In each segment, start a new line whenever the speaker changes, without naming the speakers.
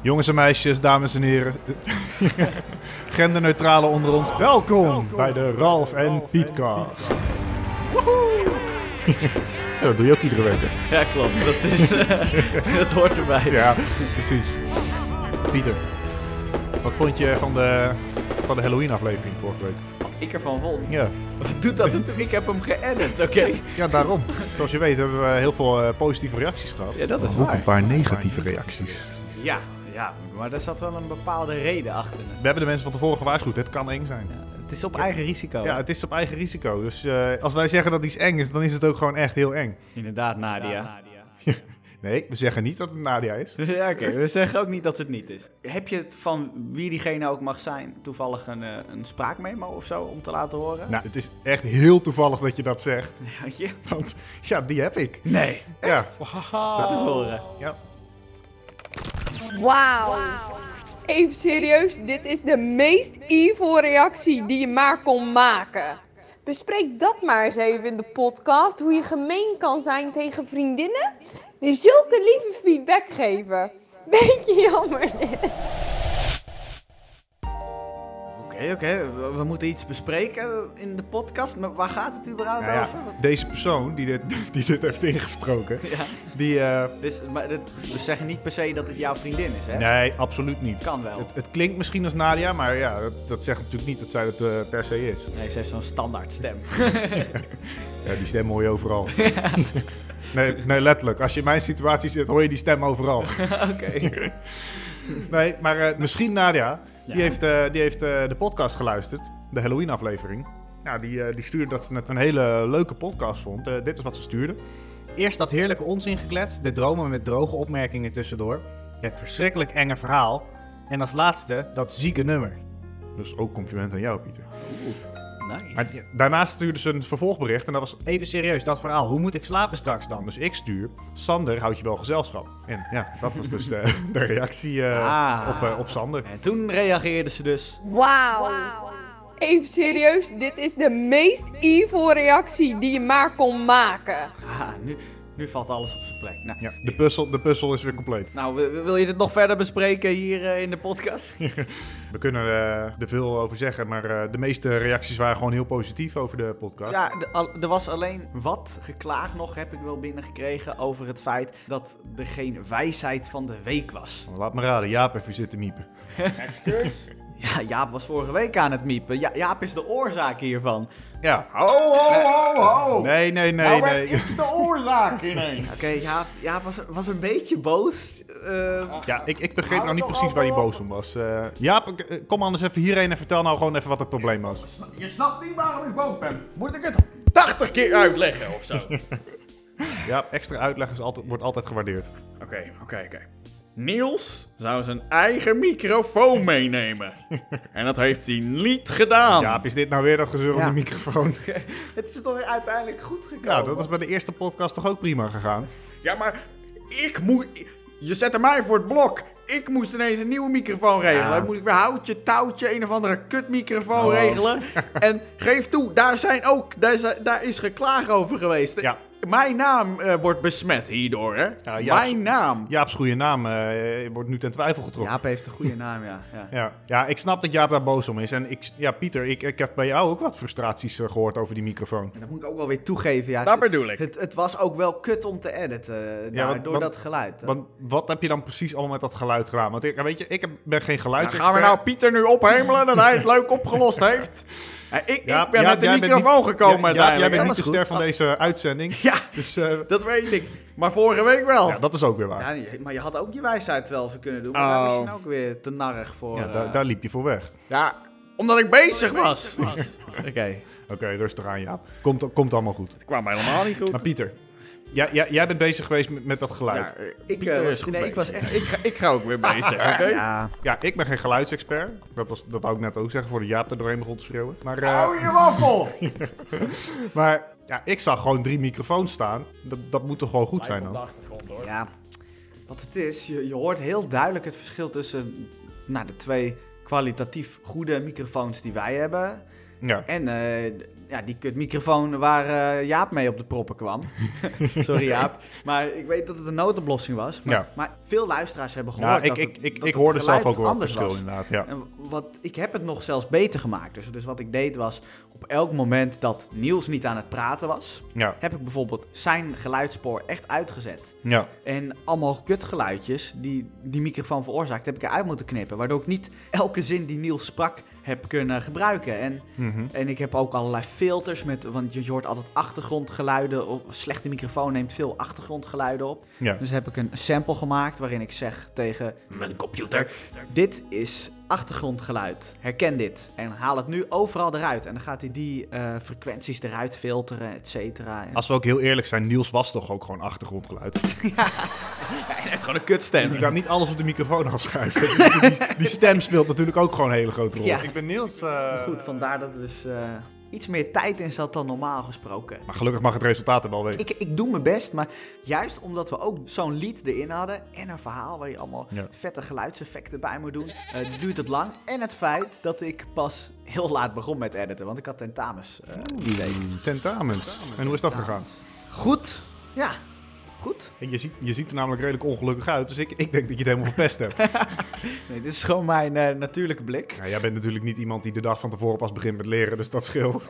Jongens en meisjes, dames en heren. Genderneutrale onder ons. Welkom, bij de Ralf en Pietcast. Ja, dat doe je ook iedere week. hè?
Ja, klopt. Dat, is, eh, dat hoort erbij.
Ja, precies. Pieter, wat vond je van de, van de Halloween-aflevering vorige week?
Wat ik ervan vond.
Ja.
Wat doet dat er toe? Ik heb hem geëdit, oké?
ja, daarom. Zoals je weet hebben we heel veel eh, positieve reacties gehad.
Ja, dat is
Ook
waar.
een paar negatieve reacties.
Ja, ja, maar daar zat wel een bepaalde reden achter.
We hebben de mensen van tevoren gewaarschuwd. Het kan eng zijn.
Het is op eigen risico.
Ja, het is op eigen risico. Dus eh, als wij zeggen dat iets eng is, dan is het ook gewoon echt heel eng.
Inderdaad, Nadia.
Nee, we zeggen niet dat het Nadia is.
Ja, oké. We zeggen ook niet dat het niet is. Heb je het van wie diegene ook mag zijn toevallig een, eh, een spraakmemo of zo om te laten horen?
Nou, het is echt heel toevallig dat je dat zegt.
Had je?
Want ja, die heb ik.
Nee. Oh.
Ja.
Laat eens horen.
ja.
Wauw. Even serieus, dit is de meest evil reactie die je maar kon maken. Bespreek dat maar eens even in de podcast, hoe je gemeen kan zijn tegen vriendinnen die zulke lieve feedback geven. Beetje jammer dit.
Oké, oké. We, we moeten iets bespreken in de podcast. Maar waar gaat het überhaupt
Nou ja,
over? Wat-
deze persoon die dit, die dit heeft ingesproken,
Ja.
die... eh,
Dus, maar dit, we zeggen niet per se dat het jouw vriendin is, hè?
nee, absoluut niet.
Kan wel.
Het, het klinkt misschien als Nadia, maar ja, dat, dat zegt natuurlijk niet dat zij dat eh, per se is.
Nee, ze heeft zo'n standaard stem.
Ja, die stem hoor je overal. Nee, nee, letterlijk. Als je in mijn situatie zit, hoor je die stem overal.
Oké.
Nee, maar eh, misschien Nadia.
Ja.
Die heeft, eh, die heeft eh, de podcast geluisterd. De Halloween-aflevering. Ja, die, eh, die stuurde dat ze het een hele leuke podcast vond. Eh, dit is wat ze stuurde. Eerst dat heerlijke onzin gekletst. De dromen met droge opmerkingen tussendoor. Het verschrikkelijk enge verhaal. En als laatste dat zieke nummer. Dus ook compliment aan jou, Pieter.
Nice.
Maar die- daarnaast stuurde ze een vervolgbericht en dat was even serieus, dat verhaal. Hoe moet ik slapen straks dan? Dus ik stuur, Sander houdt je wel gezelschap. En ja, dat was dus de, de reactie eh,
Ah.
op, eh, op Sander.
En toen reageerde ze dus.
Wauw. Even serieus, dit is de meest evil reactie die je maar kon maken.
Ah, nu, nu valt alles op zijn plek. Nou,
Ja, de, puzzel, de puzzel is weer compleet.
nou, wi- wil je dit nog verder bespreken hier eh, in de podcast?
We kunnen eh, er veel over zeggen, maar eh, de meeste reacties waren gewoon heel positief over de podcast.
Ja, de- al- er was alleen wat geklaagd nog, heb ik wel binnengekregen, over het feit dat er geen wijsheid van de week was.
Laat me raden, Jaap heeft weer zitten miepen.
Dus-
Ja, Jaap was vorige week aan het miepen. Ja, Jaap is de oorzaak hiervan.
Ja.
Ho, ho, ho, ho!
Nee, nee, nee,
Nou
nee.
werd ik de oorzaak ineens. Oké, ja, ja was, was een beetje boos. Eh,
Ja, ik, ik begreep
Hou
nou niet
toch
precies
al
waar je
op.
boos om was. Eh, Jaap, ik- eh, kom anders even hierheen en vertel nou gewoon even wat het probleem was.
Je snapt niet waarom ik boos ben. Moet ik het 80 keer uitleggen of zo? Oké,
Ja, extra uitleg is altijd, wordt altijd gewaardeerd.
oké, oké. Niels zou zijn eigen microfoon meenemen. En dat heeft hij niet gedaan.
Jaap, is dit nou weer dat gezeur op
Ja.
de microfoon?
het is toch uiteindelijk goed gekomen?
Ja, dat was bij de eerste podcast toch ook prima gegaan.
Ja, maar ik moet... Je zette mij voor het blok. Ik moest ineens een nieuwe microfoon regelen.
Ja.
Dan Moet ik weer houtje, touwtje, een of andere kutmicrofoon
Oh.
regelen. En geef toe, daar zijn ook... Daar, zijn- daar is geklaag over geweest.
Ja.
Mijn naam eh, wordt besmet hierdoor, hè?
Ja, ja,
Mijn naam.
Jaap's goede naam eh, wordt nu ten twijfel getrokken.
Jaap heeft een goede naam, ja. ja.
Ja, ja, ik snap dat Jaap daar boos om is. En ik, ja, Pieter, ik, ik heb bij jou ook wat frustraties eh, gehoord over die microfoon.
En dat moet ik ook wel weer toegeven. Ja,
Dat
het,
bedoel ik.
het, het was ook wel kut om te editen eh,
Ja,
daar,
want-
door
want-
dat geluid.
Want wat heb je dan precies allemaal met dat geluid gedaan? Want ik, weet je, ik heb- ben geen
Dan
geluidsexpert.
gaan we nou Pieter nu ophemelen dat hij het leuk opgelost heeft. Eh, Ik,
Jaap,
ik ben
Jaap,
met de
jij bent
microfoon
niet-
gekomen
Ja, Jaap, jij
uiteindelijk.
bent
Dat
niet de
was
ster
goed.
van deze uitzending.
Ja,
Dus eh,
dat weet ik. Maar vorige week wel.
ja, dat is ook weer waar.
Ja, nee, maar je had ook je wijsheid wel even kunnen doen. Maar daar was je nou ook weer te narrig voor.
Oh. Ja, daar,
eh.
daar liep je voor weg.
Ja, omdat ik bezig was.
Oké.
Oké, rustig aan, Jaap. Komt, komt allemaal goed.
Het kwam helemaal niet goed.
Maar Pieter, jij, jij, jij bent bezig geweest met, met dat geluid.
Ja, eh,
Ik,
Pieter
eh,
is
was,
goed
nee, ik was
bezig.
echt...
Ik ga, ik ga ook weer bezig, oké?
Ja,
Ja, ik ben geen geluidsexpert. Dat, was, dat wou ik net ook zeggen, voordat Jaap er doorheen begon te schreeuwen. Maar, eh,
Hou je waffel!
maar ja, ik zag gewoon drie microfoons staan. Dat, dat moet toch gewoon goed zijn dan?
ja. Wat het is, je, je hoort heel duidelijk het verschil tussen nou, de twee kwalitatief goede microfoons die wij hebben...
Ja.
En eh, d- ja, die kutmicrofoon waar eh, Jaap mee op de proppen kwam. Sorry Jaap. Maar ik weet dat het een noodoplossing was. Maar,
Ja.
maar veel luisteraars hebben gehoord
Ja, ik,
dat
ik,
het,
ik,
dat
ik
het
hoorde zelf ook
geluid
wel het
anders
verschil
was.
inderdaad. Ja.
En wat, ik heb het nog zelfs beter gemaakt. Dus, dus wat ik deed was, op elk moment dat Niels niet aan het praten was,
Ja.
heb ik bijvoorbeeld zijn geluidspoor echt uitgezet.
Ja.
En allemaal kutgeluidjes die die microfoon veroorzaakt, heb ik eruit moeten knippen. Waardoor ik niet elke zin die Niels sprak heb kunnen gebruiken. En,
Mhm.
en ik heb ook allerlei filters, met, want je je hoort altijd achtergrondgeluiden. Of een slechte microfoon neemt veel achtergrondgeluiden op.
ja.
Dus heb ik een sample gemaakt waarin ik zeg tegen mijn computer: Dit is achtergrondgeluid. Herken dit. En haal het nu overal eruit. En dan gaat hij die eh, frequenties eruit filteren, et cetera. En-
Als we ook heel eerlijk zijn, Niels was toch ook gewoon achtergrondgeluid. Dus
Ja, hij heeft gewoon een
Je
kutstem.
kan niet alles op de microfoon afschuiven. die, die stem speelt natuurlijk ook gewoon een hele grote rol.
Ja.
Ik ben Niels. eh,
Goed, vandaar dat er dus eh, iets meer tijd in zat dan normaal gesproken.
Maar gelukkig mag het resultaat er wel weten.
Ik, ik doe mijn best, maar juist omdat we ook zo'n lied erin hadden en een verhaal waar je allemaal
Ja.
vette geluidseffecten bij moet doen, eh, duurt het lang. En het feit dat ik pas heel laat begon met editen, want ik had tentamens eh, die week.
Tentamens. En hoe is dat gegaan?
Goed, ja, goed.
En Je ziet, je ziet er namelijk redelijk ongelukkig uit, dus ik, ik denk dat je het helemaal verpest hebt.
Nee, dit is gewoon mijn eh, natuurlijke blik.
Ja, jij bent natuurlijk niet iemand die de dag van tevoren pas begint met leren, dus dat scheelt.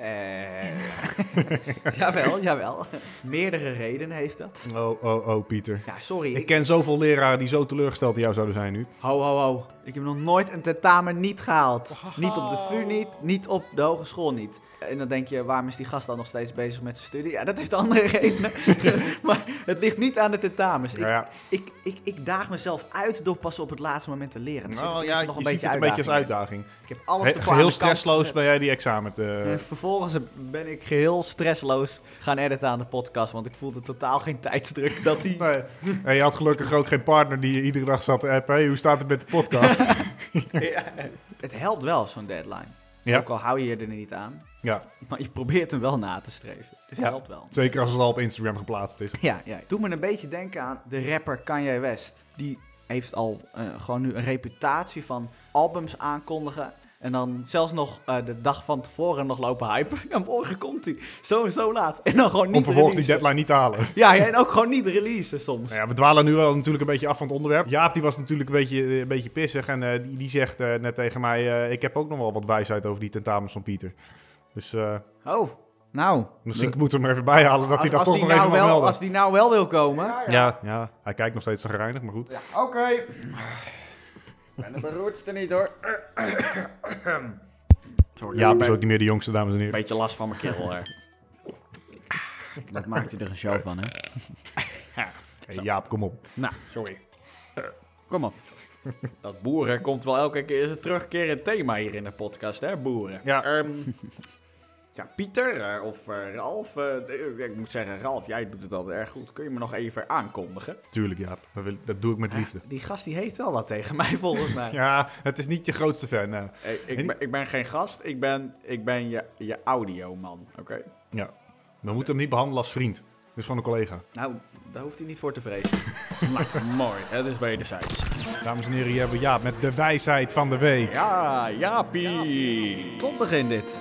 Eh, jawel, jawel. Meerdere redenen heeft dat.
Oh, oh, oh, Pieter.
Ja, sorry.
Ik
Ik...
ken zoveel leraren die zo teleurgesteld in jou zouden zijn nu.
Ho, ho, ho. Ik heb nog nooit een tentamen niet gehaald. Niet op de VU niet, niet op de hogeschool niet. En dan denk je, waarom is die gast dan nog steeds bezig met zijn studie? Ja, dat heeft andere redenen. maar het ligt niet aan de tentamens. Ik,
Nou ja,
ik, ik, ik daag mezelf uit door pas op het laatste moment te leren. Er zit
nou,
tenminste
ja,
nog
je
een
ziet
beetje
het een beetje als
uitdaging in.
uitdaging.
Ik heb alles
He-
ervoor aan de
geheel
kant
stressloos
gezet.
ben jij die examen te...
En vervolgens ben ik geheel stressloos gaan editen aan de podcast, want ik voelde totaal geen tijdsdruk dat die...
Nee. En je had gelukkig ook geen partner die je iedere dag zat te appen. Hey, hoe staat het met de podcast?
Het helpt wel, zo'n deadline.
Ja.
Ook al hou je je er niet aan,
ja,
maar je probeert hem wel na te streven. Dus het
Ja.
helpt wel.
zeker als het al op Instagram geplaatst is.
Ja, ja. Doe me een beetje denken aan de rapper Kanye West. Die heeft al eh, gewoon nu een reputatie van albums aankondigen. En dan zelfs nog eh, de dag van tevoren nog lopen hypen. Ja, morgen komt hij. Zo en zo laat. En dan gewoon niet
Om vervolgens die deadline
releasen.
niet te halen.
Ja, ja, en ook gewoon niet releasen soms.
Nou ja, we dwalen nu wel natuurlijk een beetje af van het onderwerp. Jaap die was natuurlijk een beetje, een beetje pissig en eh, die, die zegt eh, net tegen mij... eh, ik heb ook nog wel wat wijsheid over die tentamens van Pieter. Dus eh,
Oh, nou.
misschien moeten we hem er even bij halen dat hij dat
als,
toch
die
nog
nou
even mag
wel,
melden.
als die nou wel wil komen.
Ja, ja, hij kijkt nog steeds zagrijnig, maar goed.
Oké.
Ik ben de beroerdste niet hoor.
Sorry,
Jaap
ik
is
heb
ook niet meer de jongste, dames en
een
heren.
beetje last van mijn keel. hè. Dat maakt u er een show van, hè?
Hey, Jaap, kom op.
Nou,
Sorry.
kom op.
Dat boeren komt wel elke keer is een terugkerend thema hier in de podcast, hè, boeren?
Ja.
Ehm, ja, Pieter eh, of eh, Ralf. eh, eh, ik moet zeggen, Ralf, jij doet het altijd erg goed. Kun je me nog even aankondigen?
Tuurlijk, Jaap. Dat, wil- dat doe ik met liefde.
Die gast die heeft wel wat tegen mij, volgens mij.
Ja, het is niet je grootste fan. eh.
Eh, ik, ben, ik ben geen gast, ik ben, ik ben je, je audioman, oké?
Ja. We moeten hem niet behandelen als vriend. Dus van een collega.
Nou, daar hoeft hij niet voor te vrezen.
nou, mooi. Het
dus
is wederzijds.
Dames en heren, hier hebben we Jaap met de wijsheid van de week.
Ja, Jaapie.
Tot begin dit.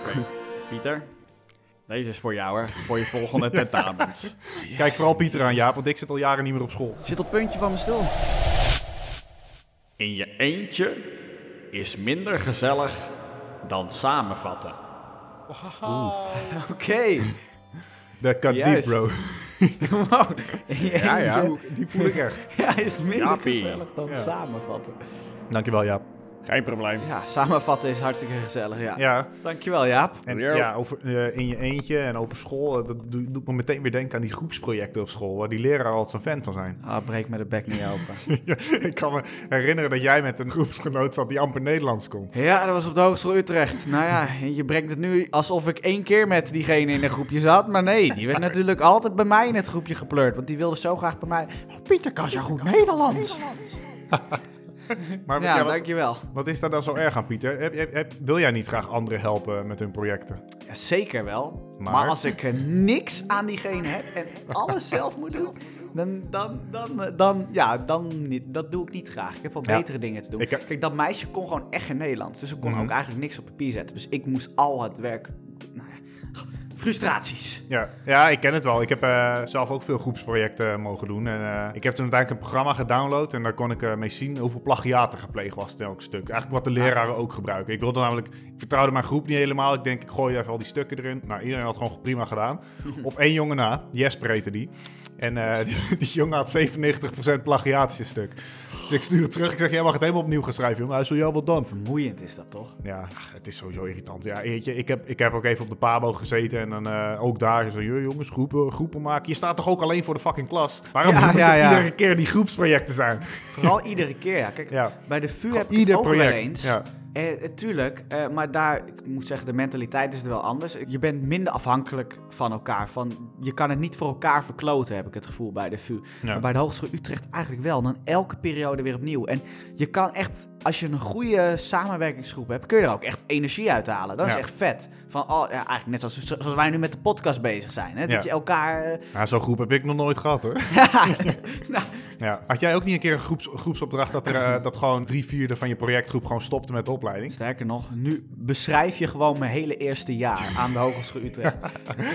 Pieter, deze is voor jou, hè? Voor je volgende tentamens.
Kijk vooral Pieter aan, Jaap, want ik zit al jaren niet meer op school.
Ik zit op het puntje van mijn stoel.
In je eentje is minder gezellig dan samenvatten.
Oké.
Dat kan diep,
Juist.
bro.
Wow. Ja,
Die
ja.
voel ik- Die voel ik echt.
Hij is minder
Jaapie.
gezellig dan
Ja.
samenvatten.
Dankjewel, Jaap.
Geen probleem.
Ja, samenvatten is hartstikke gezellig, ja.
Ja,
Dankjewel, Jaap.
en
Ja.
ja, over, eh, in je eentje en over school. eh, Dat doe- doet me meteen weer denken aan die groepsprojecten op school. Waar die leraar altijd zo'n fan van zijn.
Ah, breek me de bek niet open.
ik kan me herinneren dat jij met een groepsgenoot zat die amper Nederlands kon.
Ja, dat was op de Hogeschool Utrecht. Nou ja, je brengt het nu alsof ik één keer met diegene in een groepje zat. Maar nee, die werd natuurlijk altijd bij mij in het groepje gepleurd. Want die wilde zo graag bij mij... Oh, Pieter kan zo goed Nederlands.
Maar wat-
Ja,
ja, wat,
dankjewel.
wat is daar dan zo erg aan, Pieter? Heb, heb, heb- wil jij niet graag anderen helpen met hun projecten?
Ja, zeker wel. Maar?
Maar
als ik eh, niks aan diegene heb en alles zelf moet doen... Dan, dan, dan, eh, dan, ja, dan niet. Dat doe ik niet graag. Ik heb wel
Ja.
betere dingen te doen.
Ik heb-
Kijk, dat meisje kon gewoon echt in Nederlands. Dus ze kon
Mhm.
ook eigenlijk niks op papier zetten. Dus ik moest al het werk. Nou ja, frustraties.
Ja. ja, ik ken het wel. Ik heb eh, zelf ook veel groepsprojecten mogen doen. En, eh, ik heb toen uiteindelijk een programma gedownload en daar kon ik eh, mee zien hoeveel plagiaat er gepleegd was in elk stuk. Eigenlijk wat de leraren ook gebruiken. Ik wilde namelijk, ik vertrouwde mijn groep niet helemaal. Ik denk, ik gooi even al die stukken erin. Nou, iedereen had gewoon prima gedaan. Op één jongen na, Jesper heette die. En eh, die, die jongen had 97% plagiaat in zijn stuk. Dus ik stuur het terug. Ik zeg, jij mag het helemaal opnieuw gaan schrijven, jongen. Hij zo, ja, wat dan?
Vermoeiend is dat toch?
Ja, ach, het is sowieso irritant. Ja, weet je, ik heb, ik heb ook even op de Pabo gezeten en dan eh, ook daar zo, "Joh, jongens, groepen, groepen maken. Je staat toch ook alleen voor de fucking klas? Waarom
Ja,
moet
ja,
het
ja.
iedere keer die groepsprojecten zijn?
Vooral iedere keer. Ja. Kijk,
Ja.
bij de VU heb ik
Ieder
het ook wel
project.
eens.
Ja.
Eh, eh, tuurlijk, eh, maar daar, ik moet zeggen, de mentaliteit is er wel anders. Je bent minder afhankelijk van elkaar. Van, je kan het niet voor elkaar verkloten, heb ik het gevoel bij de VU.
Ja.
Maar bij de Hogeschool Utrecht eigenlijk wel. En dan elke periode weer opnieuw. En je kan echt, als je een goede samenwerkingsgroep hebt, kun je er ook echt energie uit halen. Dat is
Ja.
echt vet. Van, oh, ja, eigenlijk net zoals, zoals wij nu met de podcast bezig zijn. Hè?
Ja.
Dat je elkaar... eh,
Nou, zo'n groep heb ik nog nooit gehad, hoor.
nou,
Ja. Had jij ook niet een keer een groeps, groepsopdracht dat, er, eh, dat gewoon drie vierde van je projectgroep gewoon stopte met de opleiding?
Sterker nog, nu beschrijf je gewoon mijn hele eerste jaar aan de Hogeschool Utrecht.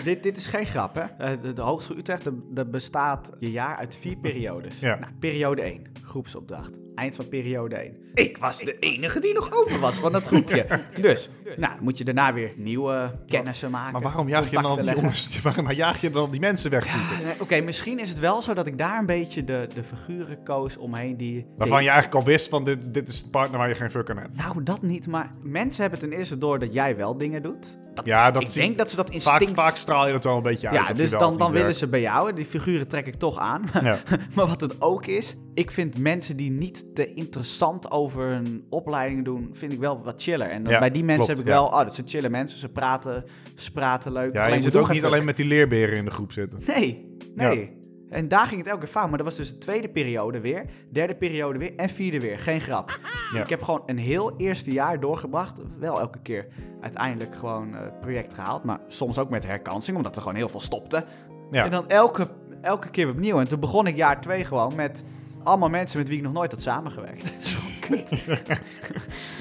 dit, dit is geen grap, hè? Eh, De, de Hogeschool Utrecht de- de bestaat je jaar uit vier periodes.
Ja.
Nou, periode 1, groepsopdracht. Eind van periode 1. Ik was de enige die nog over was van dat groepje. dus, nou, moet je daarna weer nieuwe kennissen maken.
Maar waarom jaag je dan
contacten
die
leggen.
jongens, waarom jaag je dan die mensen weg? Pieter?
Nee, Oké, misschien is het wel zo dat ik daar een beetje de, de figuren koos omheen die...
Waarvan je eigenlijk al wist van dit, dit is een partner waar je geen fuck aan hebt.
Nou, dat niet, maar mensen hebben ten eerste door dat jij wel dingen doet. Dat,
Ja, dat
ik
zie-
denk dat ze dat
Vaak,
instinct...
vaak straal je dat wel een beetje uit.
Ja,
of je
dus
wel
dan,
of
dan
niet
willen ze bij jou. En Die figuren trek ik toch aan.
werkt. Ja.
maar wat het ook is, ik vind mensen die niet te interessant over hun opleidingen doen, vind ik wel wat chiller. En dan
Ja,
bij die mensen
klopt,
heb ik wel, oh, dat zijn chille mensen. Ze praten, ze praten leuk.
Ja,
alleen
je
ze
moet
doen
ook
geen
niet
fuck.
alleen met die leerberen in de groep zitten.
Nee, nee. En daar ging het elke keer fout. Maar dat was dus de tweede periode weer, derde periode weer en vierde weer. Geen grap.
Ja.
Ik heb gewoon een heel eerste jaar doorgebracht. Wel elke keer uiteindelijk gewoon eh, het project gehaald. Maar soms ook met herkansing, omdat er gewoon heel veel stopte.
Ja.
En dan elke, elke keer weer opnieuw. En toen begon ik jaar twee gewoon met allemaal mensen met wie ik nog nooit had samengewerkt. Dat is gewoon kut.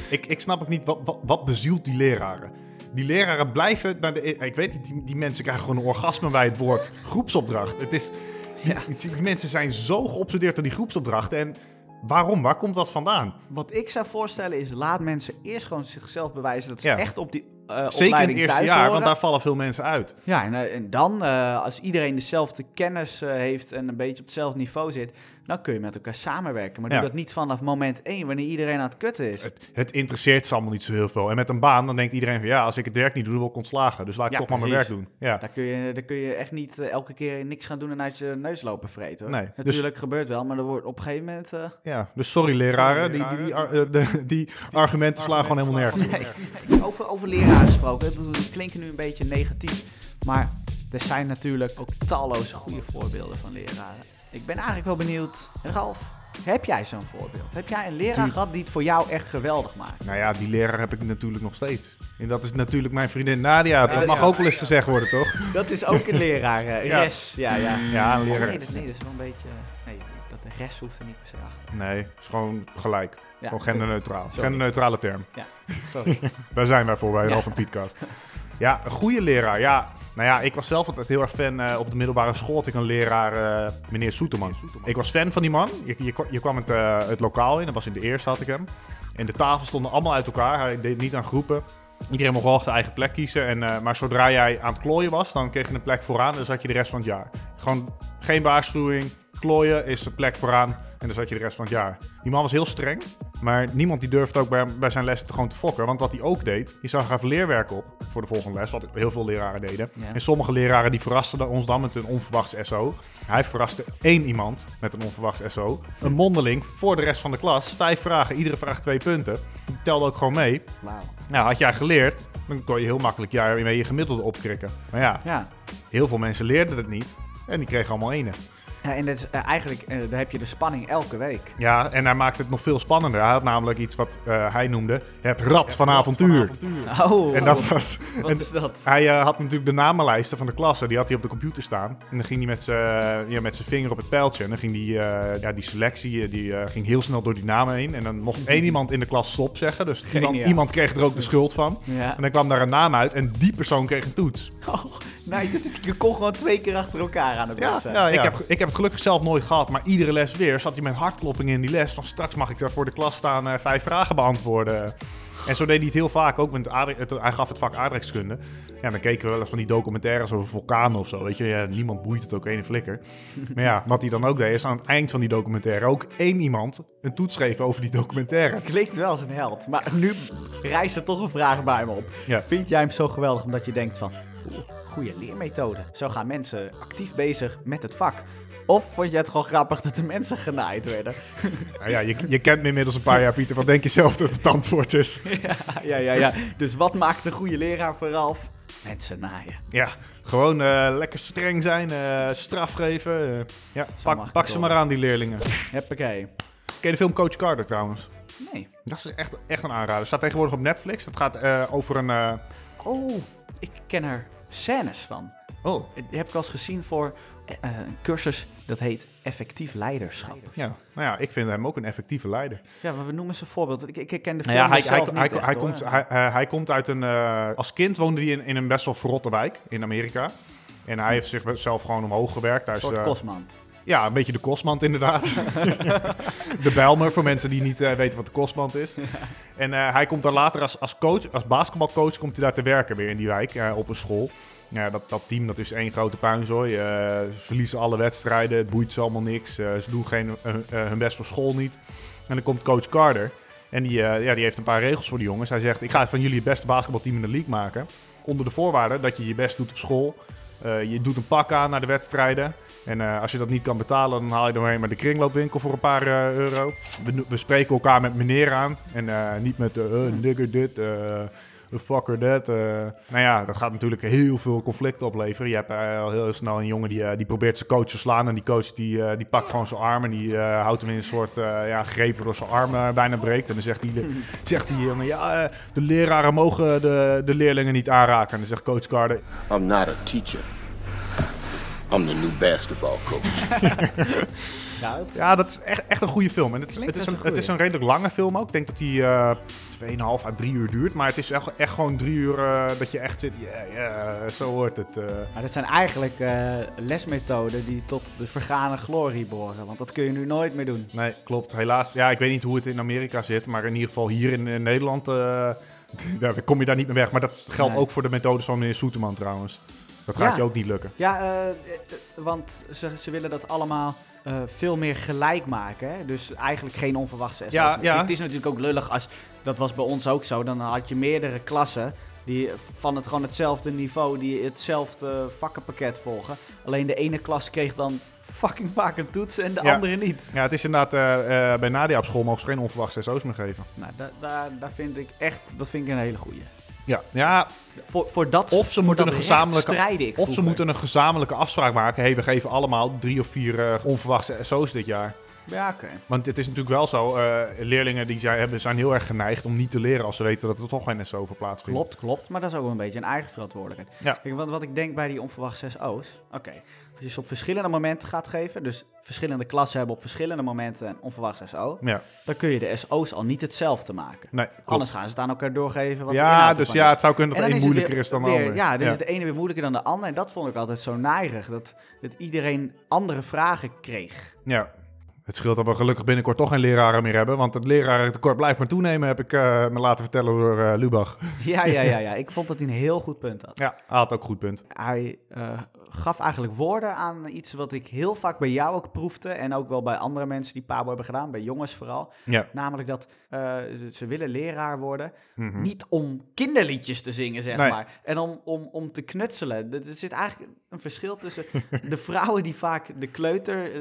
Ik, ik snap ook niet, wat, wat, wat bezielt die leraren? Die leraren blijven, naar de, e- ik weet niet, die, die mensen krijgen gewoon een orgasme bij het woord groepsopdracht. Het is,
Ja.
die, die mensen zijn zo geobsedeerd door die groepsopdrachten. En waarom? Waar komt dat vandaan?
Wat ik zou voorstellen is, laat mensen eerst gewoon zichzelf bewijzen dat ze
Ja.
echt op die eh,
Zeker in het
opleiding
eerste
thuis
jaar,
horen.
want daar vallen veel mensen uit.
Ja, en, eh, en dan, eh, als iedereen dezelfde kennis eh, heeft en een beetje op hetzelfde niveau zit, dan kun je met elkaar samenwerken. Maar
Ja. Eh,
doe dat niet vanaf moment één, wanneer iedereen aan het kutten is.
Het, het interesseert ze allemaal niet zo heel veel. En met een baan, dan denkt iedereen van ja, als ik het werk niet doe, dan word ik ontslagen. Dus laat ik
Ja,
toch maar mijn werk
precies.
doen. Ja.
Daar kun, je, daar kun je echt niet eh, elke keer niks gaan doen en uit je neus lopen vreten. hoor.
Nee, dus-
Natuurlijk gebeurt wel, maar er wordt op een gegeven moment... eh,
Ja, dus sorry leraren,
Sorry,
die, die, die,
leraren.
ar- eh, de- die argumenten slaan gewoon helemaal nergens. op.
Over, over leraren gesproken, ik bedoel, die klinken nu een beetje negatief. Maar er zijn natuurlijk ook talloze goede voorbeelden van leraren. Ik ben eigenlijk wel benieuwd, Ralf, heb jij zo'n voorbeeld? Heb jij een leraar
Tuurlijk.
gehad die het voor jou echt geweldig maakt?
Nou ja, die leraar heb ik natuurlijk nog steeds. En dat is natuurlijk mijn vriendin Nadia. Dat
Nadia.
mag ook wel eens gezegd worden, toch?
Dat is ook een leraar, eh,
Ja.
res. Ja, ja.
Ja, een
Oh,
leraar.
nee, dat, nee, dat is wel een beetje... Nee, dat de res hoeft er niet per se achter.
Nee, het is gewoon gelijk.
Ja,
gewoon genderneutraal.
Sorry.
Genderneutrale term.
Sorry.
Daar zijn wij voor bij
Ja.
Ralf en Pietkast. Ja, een goede leraar. Ja, nou ja, ik was zelf altijd heel erg fan eh, op de middelbare school. Had ik een leraar, eh, meneer Soeterman. Ik was fan van die man. Je, je, kwa- je kwam het, eh, het lokaal in. Dat was in de eerste had ik hem. En de tafels stonden allemaal uit elkaar. Hij deed niet aan groepen. Iedereen mocht wel zijn eigen plek kiezen. En, eh, maar zodra jij aan het klooien was, dan kreeg je een plek vooraan. En dan zat je de rest van het jaar. Gewoon geen waarschuwing. Klooien is de plek vooraan. En dan zat je de rest van het jaar. Die man was heel streng. Maar niemand die durfde ook bij, hem- bij zijn lessen te gewoon te fokken. Want wat hij ook deed, die zag gaf leerwerk op voor de volgende les. Wat heel veel leraren deden.
Ja.
En sommige leraren die verrasten ons dan met een onverwachts SO. Hij verraste één iemand met een onverwachts SO. Een mondeling voor de rest van de klas. Vijf vragen, iedere vraag twee punten. Die telde ook gewoon mee.
Wauw.
Nou, had jij geleerd, dan kon je heel makkelijk jij mee je gemiddelde opkrikken. Maar ja,
Ja.
heel veel mensen leerden het niet. En die kregen allemaal ene.
Ja, en dat is, eh, eigenlijk eh, daar heb je de spanning elke week.
Ja, en hij maakt het nog veel spannender. Hij had namelijk iets wat eh, hij noemde het rad van avontuur.
Oh,
En dat was...
wat
en
is dat?
hij eh, had natuurlijk de namenlijsten van de klassen, die had hij op de computer staan. En dan ging hij met zijn ja, met zijn vinger op het pijltje. En dan ging die, eh, ja, die selectie eh, die, eh, ging heel snel door die namen heen. En dan mocht één iemand in de klas stop zeggen. Dus iemand,
Geniaal.
iemand kreeg er ook de schuld van.
Ja.
En dan kwam daar een naam uit en die persoon kreeg een toets.
Oh, nice. Dus het- je kon gewoon twee keer achter elkaar aan het
Ja, nou
botsen.
ja, eh, Ik, heb, ik heb het gelukkig zelf nooit gehad, maar iedere les weer zat hij met hartkloppingen in die les. Van straks mag ik daar voor de klas staan eh, vijf vragen beantwoorden. En zo deed hij het heel vaak, ook met aardrij- het, hij gaf het vak aardrijkskunde. Ja, dan keken we wel eens van die documentaires over vulkanen of zo, weet je. Ja, niemand boeit het ook, ene flikker. Maar ja, wat hij dan ook deed, is aan het eind van die documentaire ook één iemand een toets geven over die documentaire.
Klinkt wel als een held, maar nu rijst er toch een vraag bij me op.
Ja.
Vind jij hem zo geweldig omdat je denkt van, oeh, goede leermethode. Zo gaan mensen actief bezig met het vak. Of vond je het gewoon grappig dat de mensen genaaid werden?
Nou ja, je, je kent me inmiddels een paar jaar, Pieter. Wat denk je zelf dat het antwoord is?
ja, ja, ja. Dus wat maakt een goede leraar vooral? Mensen naaien.
Ja, gewoon eh, lekker streng zijn, eh, straf geven. eh. ja,
mag
pak,
ik
pak
het
ze
wel.
maar aan, die leerlingen.
Hoppakee.
Ken je de film Coach Carter trouwens?
Nee.
Dat is echt, echt een aanrader. Staat tegenwoordig op Netflix. Dat gaat eh, over een... eh,
Oh, ik ken er scènes van. Eh,
Oh.
Die heb ik al eens gezien voor eh, eh, een cursus dat heet effectief leiderschap.
Ja, nou ja, ik vind hem ook een effectieve leider.
Ja, maar we noemen ze een voorbeeld. Ik, ik ik ken de film
Nou ja, hij, hij,
zelf niet
hij,
echt,
hij
hoor.
komt, hij, eh, hij komt uit een... eh, als kind woonde hij in, in een best wel verrotte wijk in Amerika. En hij heeft zichzelf gewoon omhoog gewerkt. Hij
Een
is,
soort
eh,
kosmand.
Ja, een beetje de kostmand inderdaad. de Bijlmer, voor mensen die niet eh, weten wat de kostmand is. En eh, hij komt daar later als, als coach, als basketbalcoach, komt hij daar te werken weer in die wijk, eh, op een school. Ja, dat, dat team dat is één grote puinzooi. Eh, ze verliezen alle wedstrijden, het boeit ze allemaal niks. Eh, ze doen geen, eh, eh, hun best voor school niet. En dan komt coach Carter. En die, eh, ja, die heeft een paar regels voor de jongens. Hij zegt, ik ga van jullie het beste basketbalteam in de league maken. Onder de voorwaarde dat je je best doet op school. Eh, je doet een pak aan naar de wedstrijden. En eh, als je dat niet kan betalen, dan haal je doorheen maar de kringloopwinkel voor een paar eh, euro. We, no- we spreken elkaar met meneer aan. En eh, niet met eh eh, nigger dit, eh, eh, fucker dat. eh. Nou ja, dat gaat natuurlijk heel veel conflicten opleveren. Je hebt eh, al heel snel een jongen die, eh, die probeert zijn coach te slaan. En die coach die, eh, die pakt gewoon zijn arm. En die eh, houdt hem in een soort eh, ja, greep waardoor zijn arm eh, bijna breekt. En dan zegt hij, zegt die jongen, ja, eh, de leraren mogen de, de leerlingen niet aanraken. En dan zegt coach Carter,
I'm not a teacher. I'm the new basketball coach.
Ja, het-
Ja, dat is echt, echt een goede film. En het, is-
Klinkt
het, is
best
een,
een
het is een redelijk lange film ook. Ik denk dat die eh 2,5 à 3 uur duurt. Maar het is echt, echt gewoon 3 uur eh, dat je echt zit. Ja, ja, zo hoort het. eh.
Maar dat zijn eigenlijk eh, lesmethoden die tot de vergane glorie behoren. Want dat kun je nu nooit meer doen.
Nee, klopt. Helaas. Ja, ik weet niet hoe het in Amerika zit. Maar in ieder geval hier in, in Nederland eh, daar kom je daar niet meer weg. Maar dat geldt
Nee.
ook voor de methodes van meneer Soeterman trouwens. Dat gaat
Ja.
je ook niet lukken.
Ja, eh, eh, eh, want ze, ze willen dat allemaal eh, veel meer gelijk maken. Hè? Dus eigenlijk geen onverwachte SOS.
Ja,
meer.
ja.
Het, is, het is natuurlijk ook lullig als... Dat was bij ons ook zo. Dan had je meerdere klassen die van het, gewoon hetzelfde niveau... die hetzelfde vakkenpakket volgen. Alleen de ene klas kreeg dan fucking vaak een toets en de
Ja.
andere niet.
Ja, het is inderdaad eh, eh, bij Nadia op school mogen ze geen onverwachte SO's meer geven.
Nou, daar daar daar vind ik echt... Dat vind ik een hele goeie.
Ja, ja
Voor, voor dat,
Of ze
voor
moeten
dat
een
recht
gezamenlijke-
strijden ik
Of ze
vroeger.
moeten een gezamenlijke afspraak maken. hey, we geven allemaal drie of vier eh, onverwachte SO's dit jaar.
Ja, oké.
Want het is natuurlijk wel zo, eh, leerlingen die zijn, hebben, zijn heel erg geneigd om niet te leren als ze weten dat er toch geen SO voor plaatsvindt.
Klopt, klopt. Maar dat is ook wel een beetje een eigen verantwoordelijkheid.
Ja.
Kijk, want wat ik denk bij die onverwachte 6 O's. Oké, als je ze op verschillende momenten gaat geven. Dus verschillende klassen hebben op verschillende momenten een onverwacht 6O.
Ja,
Dan kun je de SO's al niet hetzelfde maken.
nee, klopt.
Anders gaan ze het aan elkaar doorgeven. Wat de
ja,
inhoud
dus
ervan
ja,
is.
het zou kunnen
En
dat
dan
één
is het
moeilijker
weer-
is dan de
weer-
ander.
Ja, dan is de ene weer moeilijker dan de ander. En dat vond ik altijd zo neigerig. Dat, dat iedereen andere vragen kreeg.
ja. Het scheelt dat we gelukkig binnenkort toch geen leraren meer hebben. Want het lerarentekort blijft maar toenemen, heb ik eh, me laten vertellen door eh, Lubach.
Ja, ja, ja, ja. Ik vond dat hij een heel goed punt had.
Ja, hij had ook een goed punt.
hij eh, gaf eigenlijk woorden aan iets wat ik heel vaak bij jou ook proefde. En ook wel bij andere mensen die Pabo hebben gedaan, bij jongens vooral.
Ja.
Namelijk dat eh, ze- ze willen leraar worden.
Mhm.
Niet om kinderliedjes te zingen, zeg
Nee.
maar. En om, om, om te knutselen. Er er zit eigenlijk een verschil tussen de vrouwen die vaak de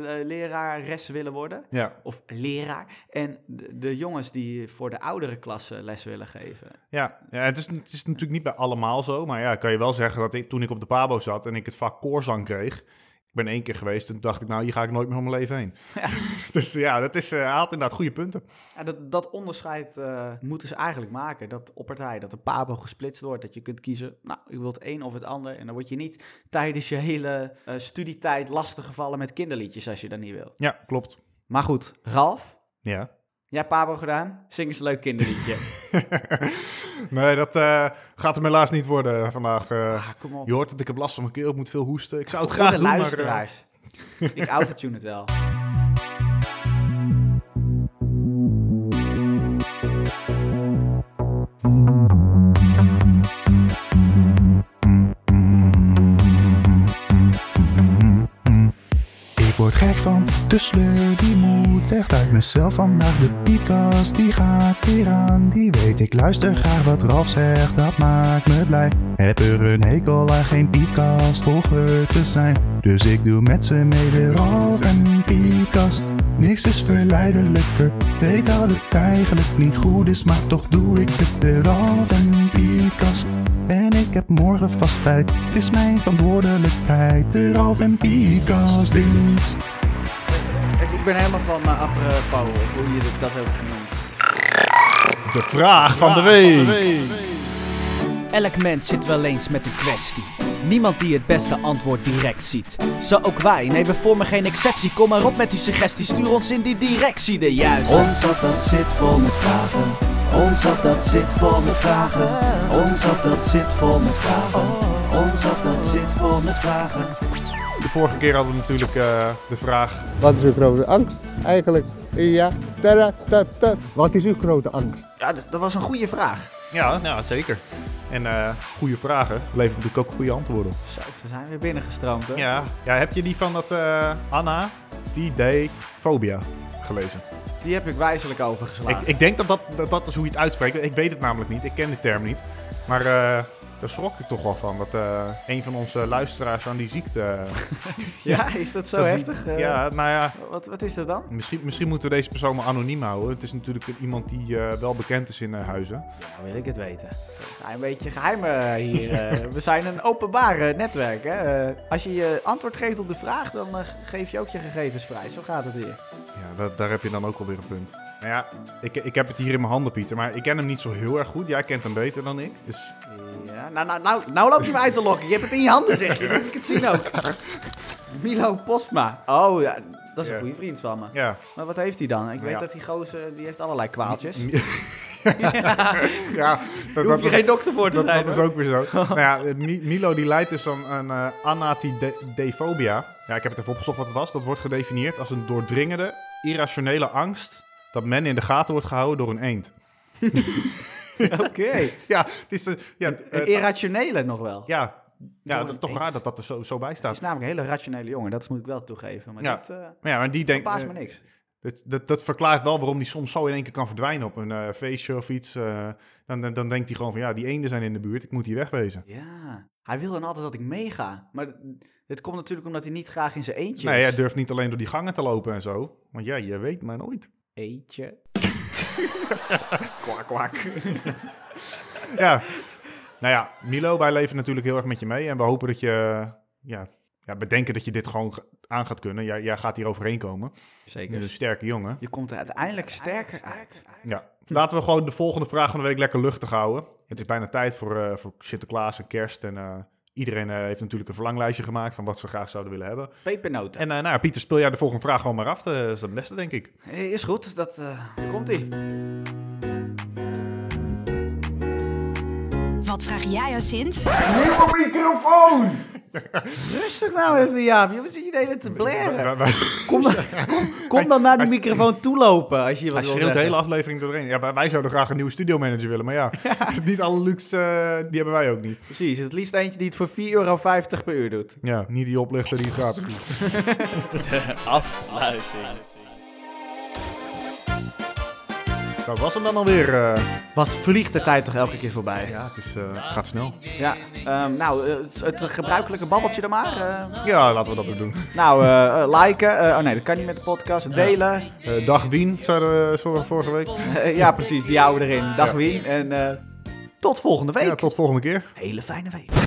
kleuterlerares willen worden.
Ja.
Of leraar. En de, de jongens die voor de oudere klasse les willen geven.
Ja, ja het, is, het is natuurlijk niet bij allemaal zo. Maar ja, kan je wel zeggen dat ik, toen ik op de Pabo zat en ik het vak koorzang kreeg. ben één keer geweest en dacht ik, nou, hier ga ik nooit meer om mijn leven heen. dus ja, dat is, eh, hij had inderdaad goede punten.
Ja, dat, dat onderscheid eh, moeten ze eigenlijk maken. Dat op partij, dat de pabo gesplitst wordt. Dat je kunt kiezen, nou, u wilt het een of het ander. En dan word je niet tijdens je hele eh, studietijd lastiggevallen met kinderliedjes als je dat niet wil.
Ja, klopt.
Maar goed, Ralf,
Ja.
jij hebt pabo gedaan? Zing eens een leuk kinderliedje.
nee, dat eh, gaat hem helaas niet worden vandaag. eh.
ah, kom op.
je hoort dat ik heb last van mijn keel, ik moet veel hoesten. Ik zou het
Voor de
graag doen, maar, eh,
luisteraars. Ik autotune het wel.
Ik word gek van de sleur, die moet echt uit mezelf vandaag. De podcast die gaat weer aan, die weet ik luister graag wat Ralf zegt, dat maakt me blij. Heb er een hekel aan geen podcast volger te zijn, dus ik doe met ze mee de Ralf en Podcast. Niks is verleidelijker, weet dat het eigenlijk niet goed is, maar toch doe ik het de Ralf en Podcast. En ik heb morgen vast spijt, het is mijn verantwoordelijkheid, de Ralf en Podcast dit.
Ik, ik ben helemaal van mijn apropos, of hoe je dat ook genoemd.
De vraag van de week.
Elk mens zit wel eens met een kwestie. Niemand die het beste antwoord direct ziet. Zo ook wij, nee we vormen geen exceptie. Kom maar op met uw suggestie, stuur ons in die directie de juiste. Ons af dat zit vol met vragen. Ons af dat zit vol met vragen. Ons af dat zit vol met vragen. Ons af dat zit vol met vragen.
De vorige keer hadden we natuurlijk eh, de vraag...
Wat is uw grote angst eigenlijk? Ja, tada, ta, ta. Wat is uw grote angst?
Ja, dat, dat was een goede vraag.
Ja, ja zeker. En eh, goede vragen levert natuurlijk ook goede antwoorden op.
Zo, ze zijn weer binnengestroomd, hè?
Ja. ja, heb je die van dat eh, Anna TD Phobia gelezen?
Die heb ik wijzelijk overgeslagen.
Ik, ik denk dat dat, dat dat is hoe je het uitspreekt. Ik weet het namelijk niet. Ik ken de term niet. Maar eh, daar schrok ik toch wel van. Dat eh, een van onze luisteraars aan die ziekte... eh,
Ja, is dat zo
dat die-
heftig? Eh,
ja, nou ja.
Wat, wat is dat dan?
Misschien, misschien moeten we deze persoon maar anoniem houden. Het is natuurlijk iemand die eh, wel bekend is in eh, Huizen.
Nou, wil ik het weten. Ga een beetje geheim eh, hier. eh. we zijn een openbaar eh, netwerk, hè. Eh, als je je antwoord geeft op de vraag, dan eh, geef je ook je gegevens vrij. Zo gaat het weer.
Ja, da- daar heb je dan ook alweer een punt. Nou ja, ik, ik heb het hier in mijn handen, Pieter. Maar ik ken hem niet zo heel erg goed. Jij kent hem beter dan ik. Dus
Ja, nou, nou, nou, nou loop je me uit te lokken. Je hebt het in je handen, zeg je. Dan Moet ik het zien ook. Milo Postma. Oh, ja, dat is
Ja.
een goede vriend van me.
ja.
Maar wat heeft hij dan? Ik weet
Ja.
dat die gozer, die heeft allerlei kwaaltjes.
M-
Daar
ja dat,
hoef
dat
je
is-
geen dokter voor te
dat,
zijn,
dat is
hoor.
ook weer zo. nou ja, Mi- Milo die leidt dus aan een eh anatidefobia. Ja, ik heb het even opgezocht wat het was. Dat wordt gedefinieerd als een doordringende, irrationele angst dat men in de gaten wordt gehouden door een eend.
Oké.
Ja, het is de, ja,
Een
het-
irrationele nog wel.
ja, ja dat is
een
toch
eend.
raar dat dat er zo, zo bij
Het
staat.
is nou- namelijk een hele rationele jongen, dat moet ik wel toegeven. Maar
Ja.
dat eh
Maar ja, maar die denkt...
verbaast
eh,
me niks.
Dat, dat, dat verklaart wel waarom die soms zo in één keer kan verdwijnen op een eh, feestje of iets. eh. dan, dan, dan denkt hij gewoon van, ja, die eenden zijn in de buurt, ik moet hier wegwezen.
Ja, hij wil dan altijd dat ik meega. Maar d- dit komt natuurlijk omdat hij niet graag in zijn eentje
Nee,
is.
hij durft niet alleen door die gangen te lopen en zo. Want ja, je weet maar nooit.
Eentje. kwak, kwak.
Ja. nou ja, Milo, wij leven natuurlijk heel erg met je mee. En we hopen dat je, ja, ja bedenken dat je dit gewoon ge- aan gaat kunnen. Jij, jij gaat hier overheen komen. Je
Zeker.
bent een sterke jongen.
Dus je komt er uiteindelijk sterker uit.
Ja. Laten we gewoon de volgende vraag van de week lekker luchtig houden. Het is bijna tijd voor, eh, voor Sinterklaas en kerst. En eh, iedereen eh, heeft natuurlijk een verlanglijstje gemaakt van wat ze graag zouden willen hebben.
Pepernoten.
En eh, nou, ja, Pieter, speel jij de volgende vraag gewoon maar af. Eh, Dat is het beste, denk ik.
Eh, Is goed, dat eh, daar komt hij.
Wat vraag jij aan Sint?
Rustig nou even, Jaap. Je zit je de hele tijd te blaren.
Wij- wij-
Kom, dan- kom, kom dan naar die microfoon toelopen als je wat
Hij
wil
schreeuwt de hele
zeggen.
aflevering doorheen. Ja, wij, wij zouden graag een nieuwe studiomanager willen, maar ja, niet alle luxe, eh, die hebben wij ook niet.
Precies, het liefst eentje die het voor 4,50 euro per uur doet.
Ja, niet die oplichter die het gratis doet.
Afsluiting.
Dat was hem dan alweer. eh.
Wat vliegt de tijd toch elke keer voorbij?
ja, het is, eh, het gaat snel.
Ja, ehm, nou, eh, het, het gebruikelijke babbeltje dan maar. eh.
Ja, laten we dat ook doen.
nou, eh, eh, liken. eh, oh nee, dat kan niet met de podcast. Delen.
Eh, dag Wien, zeiden we zo- vorige week.
Eh, ja, precies. Die houden we erin. Dag Wien. En eh, tot volgende week.
Ja, tot volgende keer.
Hele fijne week.